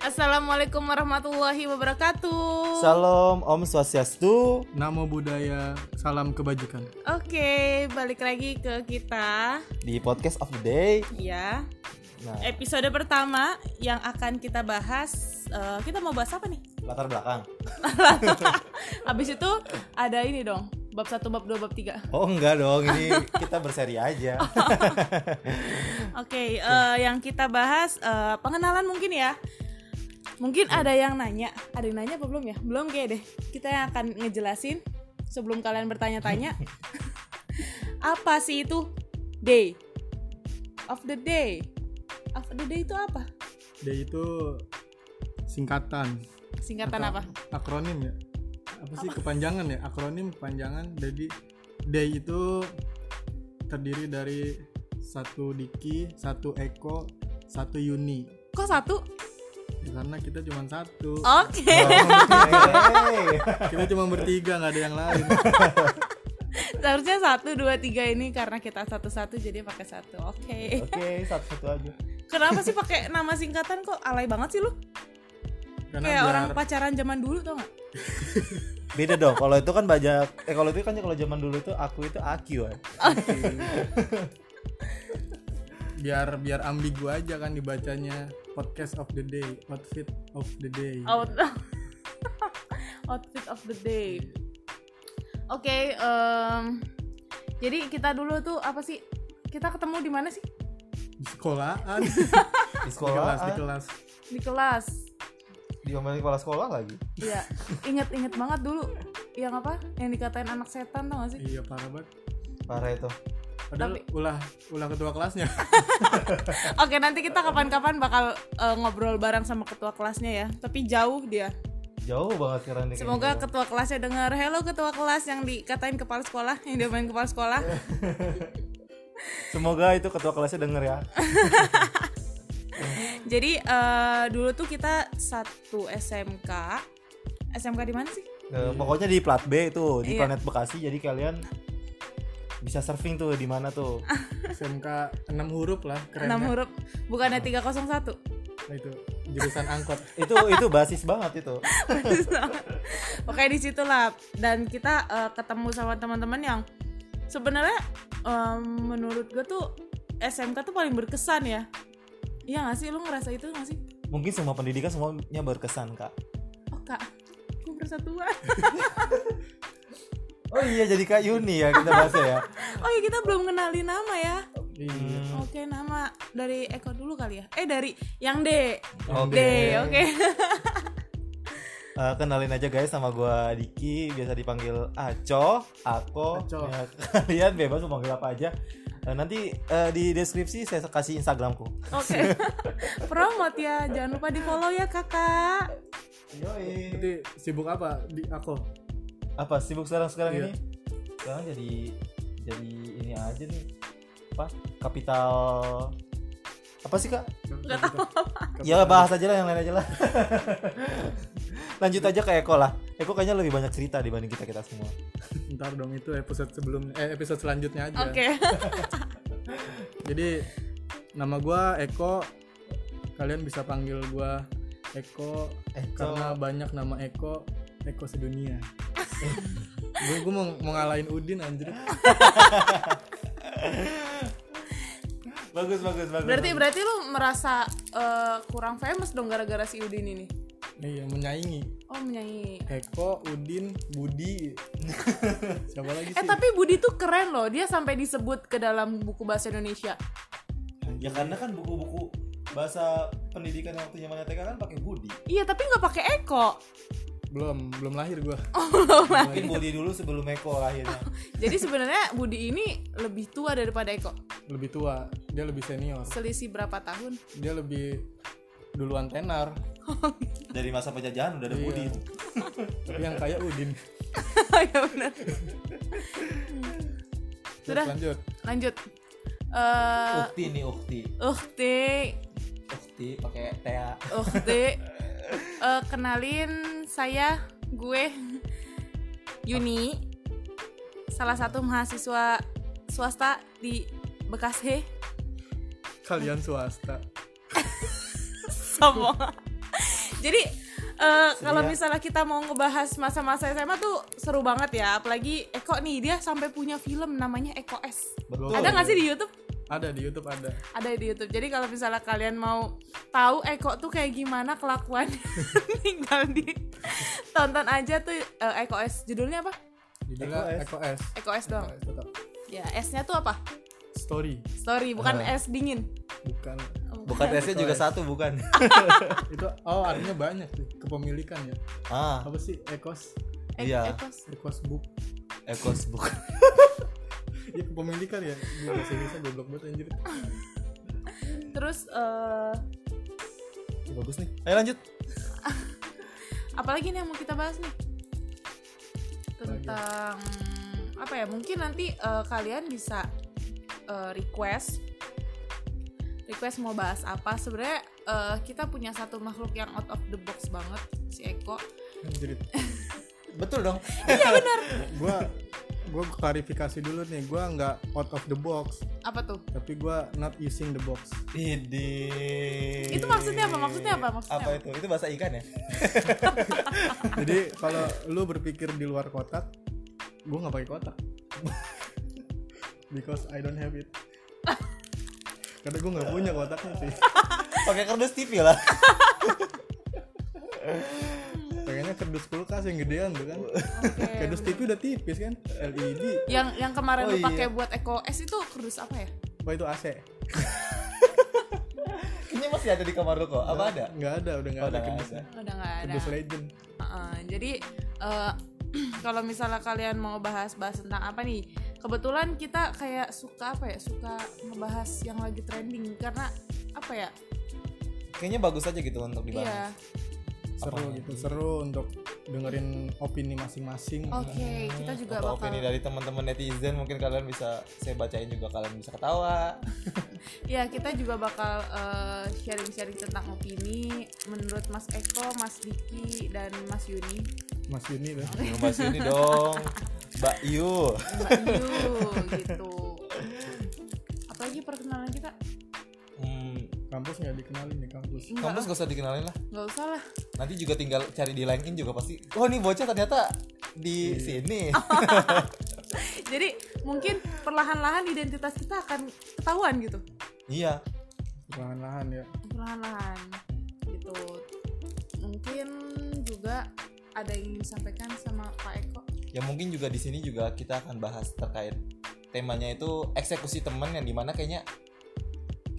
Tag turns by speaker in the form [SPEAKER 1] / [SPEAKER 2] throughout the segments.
[SPEAKER 1] Assalamualaikum warahmatullahi wabarakatuh.
[SPEAKER 2] Salam Om Swastiastu.
[SPEAKER 3] Namo budaya, salam kebajikan.
[SPEAKER 1] Oke, balik lagi ke kita
[SPEAKER 2] di podcast of the day.
[SPEAKER 1] ya.
[SPEAKER 2] Nah,
[SPEAKER 1] Episode pertama yang akan kita bahas eh, kita mau bahas apa nih?
[SPEAKER 2] latar belakang.
[SPEAKER 1] Habis itu ada ini dong, bab 1, bab 2, bab 3.
[SPEAKER 2] Oh enggak dong, ini kita berseri aja.
[SPEAKER 1] Oke, eh, yang kita bahas eh, pengenalan mungkin ya. Mungkin ada yang nanya, ada yang nanya apa belum ya? Belum kayak deh. Kita yang akan ngejelasin sebelum kalian bertanya-tanya. apa sih itu day of the day? Of the day itu apa?
[SPEAKER 3] Dia itu singkatan.
[SPEAKER 1] Singkatan
[SPEAKER 3] atau
[SPEAKER 1] apa?
[SPEAKER 3] Akronim ya. Apa sih kepanjangan ya? Akronim kepanjangan. Jadi day itu terdiri dari satu Diki, satu Eko, satu Yuni.
[SPEAKER 1] Kok satu?
[SPEAKER 3] Karena kita cuma satu.
[SPEAKER 1] Oke.
[SPEAKER 2] Oke.
[SPEAKER 3] Kita cuma bertiga, nggak ada yang lain.
[SPEAKER 1] Seharusnya satu, dua, tiga ini karena kita satu-satu jadi pakai satu. Oke.
[SPEAKER 2] Oke, satu-satu aja.
[SPEAKER 1] Kenapa sih pakai nama singkatan kok alay banget sih lu?
[SPEAKER 3] Karena
[SPEAKER 1] Kayak
[SPEAKER 3] biar
[SPEAKER 1] orang pacaran zaman dulu tau gak?
[SPEAKER 2] Beda dong. Kalau itu kan banyak eh kalau itu kan kalau zaman dulu tuh aku itu aku ya.
[SPEAKER 3] biar biar ambigu aja kan dibacanya podcast of the day, outfit of the day.
[SPEAKER 1] out outfit of the day. Oke, em, jadi kita dulu tuh apa sih? Kita ketemu di mana sih?
[SPEAKER 3] Di sekolahan,
[SPEAKER 2] Di
[SPEAKER 3] di kelas, di
[SPEAKER 2] sekolah.
[SPEAKER 3] kelas.
[SPEAKER 1] Di kelas.
[SPEAKER 2] Di omelin kepala sekolah lagi.
[SPEAKER 1] Iya, inget-inget banget dulu yang apa? Yang dikatain anak setan tau gak sih?
[SPEAKER 3] Iya parah banget.
[SPEAKER 2] Parah itu.
[SPEAKER 3] Padahal
[SPEAKER 1] Tapi-
[SPEAKER 3] ulah ulah ketua kelasnya.
[SPEAKER 1] Oke, nanti kita kapan-kapan bakal eh, ngobrol bareng sama ketua kelasnya ya. Tapi jauh dia.
[SPEAKER 2] Jauh banget sekarang nih.
[SPEAKER 1] Semoga ketua kelasnya dengar. Hello ketua kelas yang dikatain kepala sekolah, yang dia main kepala sekolah.
[SPEAKER 2] Semoga itu ketua kelasnya denger ya.
[SPEAKER 1] Jadi eh, dulu tuh kita satu SMK. SMK di mana sih?
[SPEAKER 2] Nah, pokoknya di plat B tuh, di
[SPEAKER 1] Iya.
[SPEAKER 2] planet Bekasi. Jadi kalian bisa surfing tuh di mana tuh.
[SPEAKER 3] SMK 6 huruf lah,
[SPEAKER 1] 6
[SPEAKER 3] keren. ya.
[SPEAKER 1] huruf. Bukannya 301.
[SPEAKER 3] Nah, itu jurusan angkot.
[SPEAKER 2] itu itu basis banget itu.
[SPEAKER 1] Oke, di situlah dan kita eh, ketemu sama teman-teman yang sebenarnya em, menurut gue tuh SMK tuh paling berkesan ya. Iya gak sih? Lu ngerasa itu gak sih?
[SPEAKER 2] Mungkin semua pendidikan semuanya berkesan, Kak.
[SPEAKER 1] Oh kak, gue merasa tua.
[SPEAKER 2] Oh iya jadi Kak Yuni ya kita bahasnya ya.
[SPEAKER 1] Oh iya kita belum kenali nama ya.
[SPEAKER 3] Iya.
[SPEAKER 2] Hmm.
[SPEAKER 1] Oke nama dari Eko dulu kali ya. Eh dari yang D.
[SPEAKER 2] Oke.
[SPEAKER 1] D, oke.
[SPEAKER 2] Eh, kenalin aja guys sama gua Diki, biasa dipanggil Aco, Ako.
[SPEAKER 3] Aco.
[SPEAKER 2] Ya, kalian bebas mau panggil apa aja. Eh, nanti eh, di deskripsi saya kasih Instagramku.
[SPEAKER 1] Oke. Promote ya, jangan lupa di follow ya kakak.
[SPEAKER 2] Yoi.
[SPEAKER 3] Jadi sibuk apa di aku?
[SPEAKER 2] Apa sibuk sekarang sekarang
[SPEAKER 3] Iya.
[SPEAKER 2] ini? Sekarang jadi jadi ini aja nih. Apa? Kapital apa sih kak?
[SPEAKER 3] Gak tahu.
[SPEAKER 2] Ya bahas aja lah yang lain aja lah. Lanjut aja ke Eko lah. Eko kayaknya lebih banyak cerita dibanding kita kita semua.
[SPEAKER 3] Ntar dong itu episode sebelum eh episode selanjutnya aja.
[SPEAKER 1] Oke.
[SPEAKER 3] Jadi nama gua Eko. Kalian bisa panggil gua Eko
[SPEAKER 2] Eko.
[SPEAKER 3] karena banyak nama Eko, Eko sedunia. gue gue mau, mau ngalahin Udin anjir.
[SPEAKER 2] Bagus bagus bagus.
[SPEAKER 1] Berarti berarti lu merasa eh, kurang famous dong gara-gara si Udin ini.
[SPEAKER 3] Iya, menyaingi.
[SPEAKER 1] Oh menyanyi.
[SPEAKER 3] Eko, Udin, Budi. Siapa
[SPEAKER 1] Eh
[SPEAKER 3] lagi sih?
[SPEAKER 1] tapi Budi tuh keren loh, dia sampai disebut ke dalam buku bahasa Indonesia.
[SPEAKER 2] Ya karena kan buku-buku bahasa pendidikan waktu zamannya TK kan pakai Budi.
[SPEAKER 1] Iya tapi nggak pakai Eko.
[SPEAKER 3] Belum, belum lahir gua.
[SPEAKER 1] Oh.
[SPEAKER 2] Mungkin Budi dulu sebelum Eko lahirnya.
[SPEAKER 1] Jadi sebenarnya Budi ini lebih tua daripada Eko.
[SPEAKER 3] Lebih tua, dia lebih senior.
[SPEAKER 1] Selisih berapa tahun?
[SPEAKER 3] Dia lebih duluan tenar,
[SPEAKER 2] Dari masa penjajahan udah ada
[SPEAKER 3] Iya.
[SPEAKER 2] Budi.
[SPEAKER 3] tapi yang kayak Udin.
[SPEAKER 1] ya benar. Sudah.
[SPEAKER 3] Lanjut.
[SPEAKER 1] Lanjut. Eh
[SPEAKER 2] Ukti nih Ukti.
[SPEAKER 1] Uh. Ukti,
[SPEAKER 2] Ukti pakai TA.
[SPEAKER 1] Ukti. Oh, Eh, kenalin saya gue Yuni. Salah satu mahasiswa swasta di Bekasi.
[SPEAKER 3] Kalian swasta.
[SPEAKER 1] Sombong. Jadi eh, kalau
[SPEAKER 2] Iya.
[SPEAKER 1] misalnya kita mau ngebahas masa-masa SMA tuh seru banget ya, apalagi Eko nih dia sampai punya film namanya Eko S.
[SPEAKER 2] Betul.
[SPEAKER 1] Ada nggak sih di YouTube?
[SPEAKER 3] Ada di YouTube ada.
[SPEAKER 1] Ada di YouTube. Jadi kalau misalnya kalian mau tahu Eko tuh kayak gimana kelakuannya, tinggal di tonton aja tuh eh, Eko S. Judulnya apa?
[SPEAKER 3] Judulnya
[SPEAKER 2] Eko
[SPEAKER 3] Eko S.
[SPEAKER 1] Eko S doang.
[SPEAKER 3] S tetap.
[SPEAKER 1] Ya, S-nya tuh apa?
[SPEAKER 3] Story
[SPEAKER 1] Story, bukan
[SPEAKER 2] Ah.
[SPEAKER 1] es dingin.
[SPEAKER 3] bukan
[SPEAKER 2] Bukan S-nya juga satu, bukan.
[SPEAKER 3] itu oh artinya banyak sih kepemilikan ya.
[SPEAKER 2] ah,
[SPEAKER 3] Apa sih Ekos?
[SPEAKER 1] E-
[SPEAKER 2] Iya.
[SPEAKER 1] Eko S.
[SPEAKER 3] Ekos book.
[SPEAKER 2] Ekos bukan.
[SPEAKER 3] Iya kepemilikan ya. Gue bahasa Inggrisnya goblok banget anjir.
[SPEAKER 1] Terus eh,
[SPEAKER 2] Bagus nih. Ayo lanjut.
[SPEAKER 1] apalagi nih yang mau kita bahas nih tentang apa ya mungkin nanti eh, kalian bisa eh, request request mau bahas apa sebenarnya eh, kita punya satu makhluk yang out of the box banget si Eko
[SPEAKER 3] Anjir.
[SPEAKER 2] Betul dong.
[SPEAKER 3] Gua gua klarifikasi dulu nih. Gua nggak out of the box,
[SPEAKER 1] apa tuh
[SPEAKER 3] tapi gua not using the box.
[SPEAKER 2] Idi.
[SPEAKER 1] Itu maksudnya apa? Maksudnya apa? Maksudnya
[SPEAKER 2] apa
[SPEAKER 1] apa?
[SPEAKER 2] itu? Itu bahasa ikan ya?
[SPEAKER 3] Jadi kalau lu berpikir di luar kotak, gua nggak pakai kotak. Because I don't have it. Karena gua nggak punya kotaknya sih.
[SPEAKER 2] Pakai kardus TV lah.
[SPEAKER 3] Pengennya kerdus kulkas yang gedean tuh kan.
[SPEAKER 1] Oke.
[SPEAKER 3] Kerdus TV udah tipis kan. LED.
[SPEAKER 1] yang yang kemarin
[SPEAKER 2] Oh
[SPEAKER 1] lu pakai
[SPEAKER 2] iya.
[SPEAKER 1] buat Eko S itu kerdus apa ya
[SPEAKER 3] Apa itu AC?
[SPEAKER 2] Kayaknya masih ada di kamar lu kok.
[SPEAKER 1] Iya.
[SPEAKER 2] Apa ada?
[SPEAKER 3] Nggak ada, udah nggak
[SPEAKER 2] Oh,
[SPEAKER 3] ada
[SPEAKER 2] udah nggak
[SPEAKER 3] kerdus.
[SPEAKER 2] ada.
[SPEAKER 1] udah nggak ada
[SPEAKER 3] Kerdus legend.
[SPEAKER 1] Heeh, jadi eh, kalau misalnya kalian mau bahas-bahas tentang apa nih, kebetulan kita kayak suka apa ya, suka ngebahas yang lagi trending karena apa ya?
[SPEAKER 2] Kayaknya bagus aja gitu untuk
[SPEAKER 1] Iya.
[SPEAKER 2] dibahas.
[SPEAKER 3] Seru
[SPEAKER 2] Apaan?
[SPEAKER 3] gitu, seru untuk dengerin opini masing-masing.
[SPEAKER 1] Oke, kita juga bakal
[SPEAKER 2] Atau Hmm, opini dari teman-teman netizen mungkin kalian bisa saya bacain juga kalian bisa ketawa.
[SPEAKER 1] ya kita juga bakal eh, sharing-sharing tentang opini menurut Mas Eko, Mas Diki dan Mas Yuni.
[SPEAKER 3] Mas Yuni tuh.
[SPEAKER 2] Di rumah sini dong. Mbak Yu.
[SPEAKER 1] Mbak Yu gitu. Apalagi perkenalan kita?
[SPEAKER 2] Hmm,
[SPEAKER 3] Kampus nggak dikenalin nih kampus.
[SPEAKER 1] Enggak,
[SPEAKER 2] kampus gak usah dikenalin lah.
[SPEAKER 1] enggak usah lah.
[SPEAKER 2] Nanti juga tinggal cari di LinkedIn juga pasti. Oh, nih bocah ternyata di
[SPEAKER 1] Iya.
[SPEAKER 2] sini.
[SPEAKER 1] Jadi mungkin perlahan-lahan identitas kita akan ketahuan gitu.
[SPEAKER 2] iya.
[SPEAKER 3] Perlahan-lahan ya.
[SPEAKER 1] perlahan gitu mungkin juga ada yang ingin disampaikan sama Pak Eko
[SPEAKER 2] Ya mungkin juga di sini juga kita akan bahas terkait temanya itu eksekusi teman yang dimana kayaknya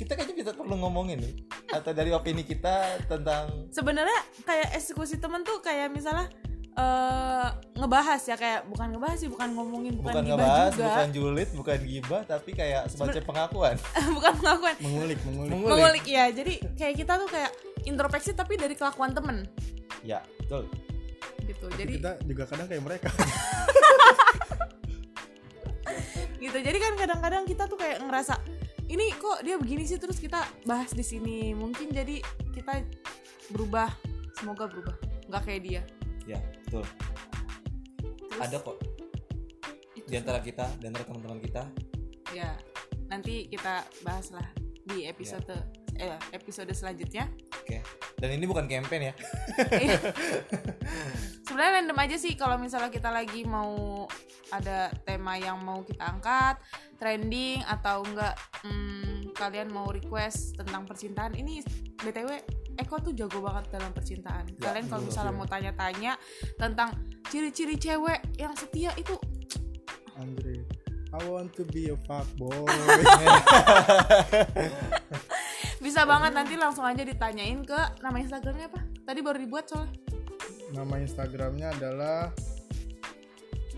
[SPEAKER 2] kita kayaknya kita perlu ngomongin nih atau dari opini kita tentang
[SPEAKER 1] sebenarnya kayak eksekusi temen tuh kayak misalnya eh ngebahas ya kayak bukan ngebahas sih bukan ngomongin bukan,
[SPEAKER 2] bukan
[SPEAKER 1] gibah
[SPEAKER 2] ngebahas,
[SPEAKER 1] juga
[SPEAKER 2] bukan julid, bukan gibah, tapi kayak sebagai pengakuan.
[SPEAKER 1] bukan pengakuan
[SPEAKER 3] Mengulik, mengulik.
[SPEAKER 2] Mengulik.
[SPEAKER 1] mengulik ya jadi kayak kita tuh kayak introspeksi tapi dari kelakuan temen
[SPEAKER 2] Ya, betul.
[SPEAKER 1] gitu
[SPEAKER 3] Tapi
[SPEAKER 1] jadi
[SPEAKER 3] kita juga kadang kayak mereka.
[SPEAKER 1] gitu jadi kan kadang-kadang kita tuh kayak ngerasa ini kok dia begini sih terus kita bahas di sini mungkin jadi kita berubah semoga berubah nggak kayak dia
[SPEAKER 2] Ya, betul.
[SPEAKER 1] Terus-
[SPEAKER 2] Ada kok di antara kita, di antara teman-teman kita.
[SPEAKER 1] ya nanti kita bahas lah di episode
[SPEAKER 2] Ya.
[SPEAKER 1] eh, episode selanjutnya
[SPEAKER 2] Oke. Dan ini bukan campaign ya.
[SPEAKER 1] Iya. sebenarnya random aja sih kalau misalnya kita lagi mau ada tema yang mau kita angkat trending atau enggak hmm, kalian mau request tentang percintaan ini btw Eko tuh jago banget dalam percintaan
[SPEAKER 2] Ya,
[SPEAKER 1] kalian kalau
[SPEAKER 2] betul,
[SPEAKER 1] misalnya
[SPEAKER 3] iya.
[SPEAKER 1] mau tanya-tanya tentang ciri-ciri cewek yang setia itu
[SPEAKER 3] Andre. I want to be a fuckboy.
[SPEAKER 1] bisa banget nanti langsung aja ditanyain ke nama instagramnya apa tadi baru dibuat soalnya
[SPEAKER 3] Nama Instagramnya adalah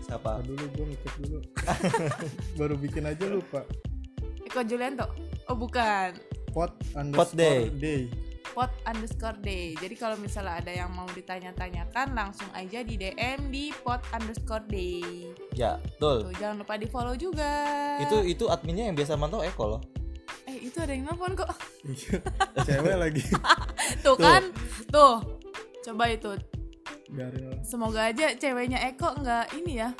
[SPEAKER 2] Siapa?
[SPEAKER 3] Ah, dulu gue ngikut dulu. Baru bikin aja lupa.
[SPEAKER 1] Eko Julianto oh bukan
[SPEAKER 3] Pot underscore
[SPEAKER 2] day.
[SPEAKER 3] day.
[SPEAKER 1] pot underscore day jadi kalau misalnya ada yang mau ditanya-tanyakan langsung aja di DM di pot underscore day
[SPEAKER 2] Ya, betul.
[SPEAKER 1] Tuh, jangan lupa di follow juga iya.
[SPEAKER 2] Itu itu adminnya yang biasa mantau Eko loh.
[SPEAKER 1] eh itu ada yang nelfon kok
[SPEAKER 3] Iya, Cewek lagi.
[SPEAKER 1] tuh, kan tuh coba itu
[SPEAKER 3] Biarin lah.
[SPEAKER 1] semoga aja ceweknya Eko nggak ini ya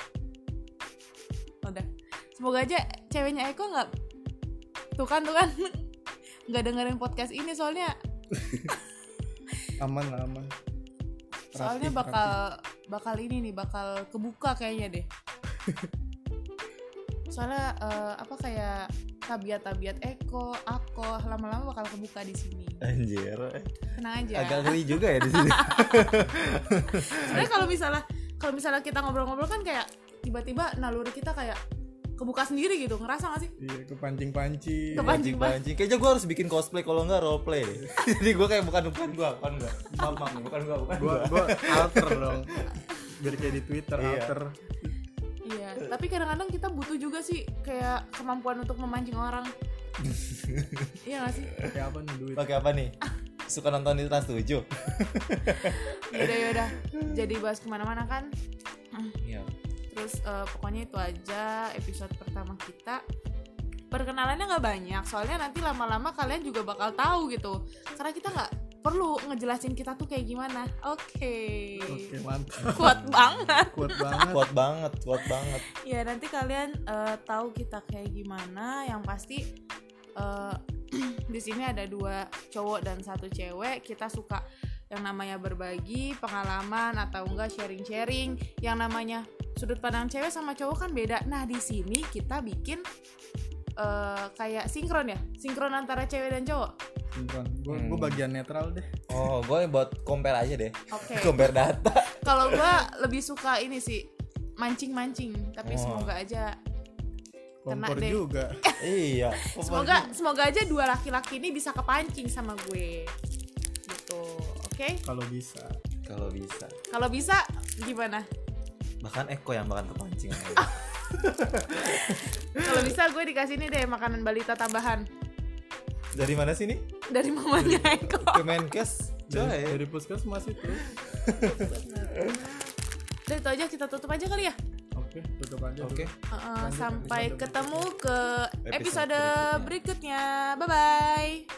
[SPEAKER 1] udah semoga aja ceweknya Eko nggak tuh kan tuh kan nggak dengerin podcast ini soalnya
[SPEAKER 3] aman lah aman
[SPEAKER 1] Soalnya
[SPEAKER 3] Praktis,
[SPEAKER 1] bakal bakal ini nih bakal kebuka kayaknya deh. Soalnya eh, apa kayak tabiat-tabiat Eko, Ako lama-lama bakal kebuka di sini.
[SPEAKER 2] Anjir.
[SPEAKER 1] Tenang aja.
[SPEAKER 2] Eh, Agak ngeri juga ya di sini.
[SPEAKER 1] Sebenarnya kalau misalnya kalau misalnya kita ngobrol-ngobrol kan kayak tiba-tiba naluri kita kayak kebuka sendiri gitu. Ngerasa gak sih?
[SPEAKER 3] iya kepancing-pancing
[SPEAKER 1] Kepa- Anjing
[SPEAKER 2] Anjing anjing. Kayaknya gue harus bikin cosplay kalau enggak role play. deh. Jadi gue kayak bukan bukan gue, bukan gue. Maaf maaf, bukan gue, bukan
[SPEAKER 3] gua
[SPEAKER 2] gue.
[SPEAKER 3] gua alter dong biar kayak di Twitter
[SPEAKER 2] Iya.
[SPEAKER 3] alter
[SPEAKER 1] Iya. Tapi kadang-kadang kita butuh juga sih kayak kemampuan untuk memancing orang. iya gak sih?
[SPEAKER 3] pakai apa nih duit
[SPEAKER 2] Pakai apa nih? Suka nonton di Trans 7
[SPEAKER 1] Yaudah yaudah. Jadi bahas kemana-mana kan.
[SPEAKER 2] Iya.
[SPEAKER 1] Terus eh, pokoknya itu aja episode pertama kita. Perkenalannya nggak banyak, soalnya nanti lama-lama kalian juga bakal tahu gitu. Karena kita nggak perlu ngejelasin kita tuh kayak gimana. Oke.
[SPEAKER 3] oke mantap
[SPEAKER 1] Kuat banget.
[SPEAKER 3] kuat banget
[SPEAKER 2] Kuat banget, kuat banget.
[SPEAKER 1] Ya nanti kalian eh, tahu kita kayak gimana. Yang pasti eh, di sini ada dua cowok dan satu cewek. Kita suka yang namanya berbagi pengalaman atau enggak sharing-sharing. Yang namanya sudut pandang cewek sama cowok kan beda. Nah di sini kita bikin eh, kayak sinkron ya, sinkron antara cewek dan cowok.
[SPEAKER 3] Beneran. gua
[SPEAKER 2] Hmm.
[SPEAKER 3] gua bagian netral deh
[SPEAKER 2] Oh, gue buat compare aja deh.
[SPEAKER 1] Oke.
[SPEAKER 2] Compare data.
[SPEAKER 1] Kalau gua lebih suka ini sih mancing-mancing. Tapi
[SPEAKER 2] Oh.
[SPEAKER 1] semoga aja Kena
[SPEAKER 3] kompor
[SPEAKER 1] deh.
[SPEAKER 3] juga
[SPEAKER 2] iya.
[SPEAKER 1] Semoga semoga aja dua laki-laki ini bisa kepancing sama gue. Gitu. Oke.
[SPEAKER 3] kalau bisa
[SPEAKER 2] kalau bisa.
[SPEAKER 1] Kalau bisa gimana?
[SPEAKER 2] Bahkan Eko yang bakal kepancing.
[SPEAKER 1] Kalau bisa gue dikasih ini deh makanan balita tambahan
[SPEAKER 2] Dari mana sih nih?
[SPEAKER 1] dari mamanya Eko.
[SPEAKER 2] Kemenkes.
[SPEAKER 3] dari,
[SPEAKER 2] Coy.
[SPEAKER 3] dari puskesmas itu
[SPEAKER 1] Udah itu aja kita tutup aja kali ya.
[SPEAKER 3] oke tutup aja dulu.
[SPEAKER 2] Oke.
[SPEAKER 1] Uh, uh, sampai ketemu ke
[SPEAKER 2] Episode
[SPEAKER 1] episode
[SPEAKER 2] berikutnya.
[SPEAKER 1] berikutnya. Bye bye.